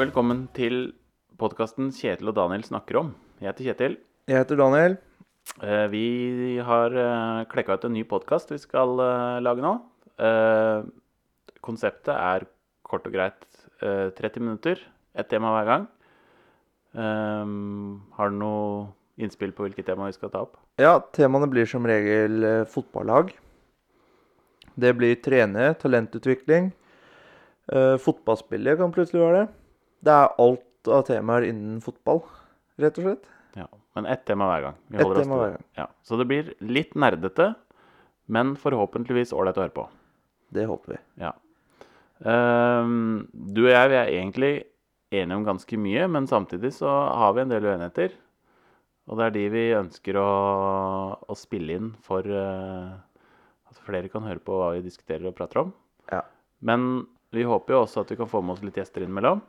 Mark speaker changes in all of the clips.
Speaker 1: velkommen til podkasten 'Kjetil og Daniel snakker om'. Jeg heter Kjetil.
Speaker 2: Jeg heter Daniel.
Speaker 1: Eh, Vi har eh, klekka ut en ny podkast vi skal eh, lage nå. Eh, Konseptet er kort og greit eh, 30 minutter, ett tema hver gang. Eh, Har du noe innspill på hvilket tema vi skal ta opp?
Speaker 2: Ja, temaene blir som regel eh, fotballag. Det blir trene, talentutvikling. Eh, fotballspillet kan plutselig være det. Det er alt av temaer innen fotball, rett og slett.
Speaker 1: Ja, Men ett tema hver gang. Vi
Speaker 2: Ett
Speaker 1: holder oss
Speaker 2: tema
Speaker 1: til
Speaker 2: hver
Speaker 1: det.
Speaker 2: gang.
Speaker 1: Ja, så det blir litt nerdete, men forhåpentligvis ålreit å høre på.
Speaker 2: Det håper vi.
Speaker 1: Ja. Ehm, du og jeg vi er egentlig enige om ganske mye, men samtidig så har vi en del uenigheter. Og det er de vi ønsker å, å spille inn for eh, at flere kan høre på hva vi diskuterer og prater om.
Speaker 2: Ja.
Speaker 1: Men vi håper jo også at vi kan få med oss litt gjester innimellom.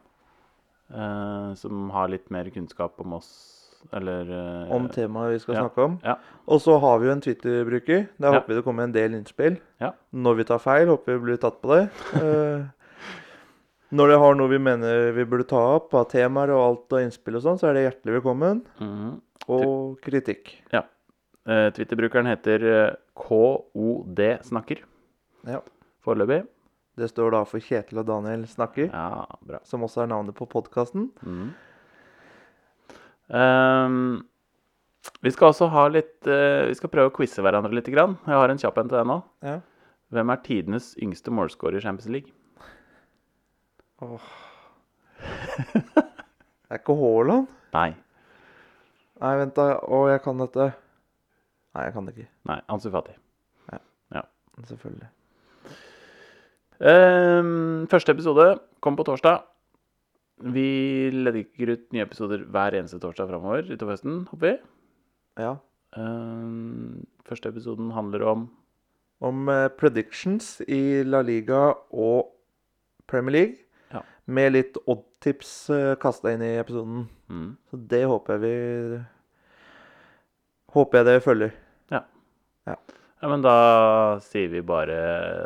Speaker 1: eh, som har litt mer kunnskap om oss, eller eh,
Speaker 2: Om temaet vi skal
Speaker 1: ja.
Speaker 2: snakke om.
Speaker 1: Ja.
Speaker 2: Og så har vi jo en Twitter-bruker. Der
Speaker 1: Ja.
Speaker 2: håper vi det kommer en del innspill.
Speaker 1: Ja.
Speaker 2: Når vi tar feil, håper vi blir tatt på det. Eh, Når dere har noe vi mener vi burde ta opp av temaer og alt av innspill og sånn, så er det hjertelig velkommen.
Speaker 1: Mhm.
Speaker 2: Og kritikk.
Speaker 1: Eh, Twitter-brukeren heter eh, KODSnakker
Speaker 2: Ja.
Speaker 1: foreløpig.
Speaker 2: Det står da for Kjetil og Daniel snakker,
Speaker 1: Ja, bra.
Speaker 2: som også er navnet på podkasten.
Speaker 1: Mm. Ehm, vi skal også ha litt eh, Vi skal prøve å quize hverandre litt. Grann. Jeg har en kjapp en til deg nå.
Speaker 2: Ja.
Speaker 1: Hvem er tidenes yngste målscorer i Champions League?
Speaker 2: Det er ikke Haaland?
Speaker 1: Nei.
Speaker 2: Nei, vent, da. Å, jeg kan dette. Nei, jeg kan det ikke.
Speaker 1: Nei, Ansu Fati.
Speaker 2: Selvfølgelig.
Speaker 1: Ehm, første episode kommer på torsdag. Vi legger ut nye episoder hver eneste torsdag framover utover høsten, håper vi.
Speaker 2: Ja.
Speaker 1: Ehm, første episoden handler om
Speaker 2: Om eh, predictions i La Liga og Premier League.
Speaker 1: Ja.
Speaker 2: Med litt oddtips eh, kasta inn i episoden.
Speaker 1: mm,
Speaker 2: Så det håper jeg vi Håper jeg det følger.
Speaker 1: Ja, men da sier vi bare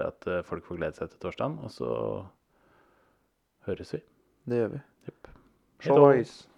Speaker 1: at eh, folk får glede seg til torsdagen, og så høres vi.
Speaker 2: Det gjør vi.
Speaker 1: Jepp. Hei då.
Speaker 2: Choice.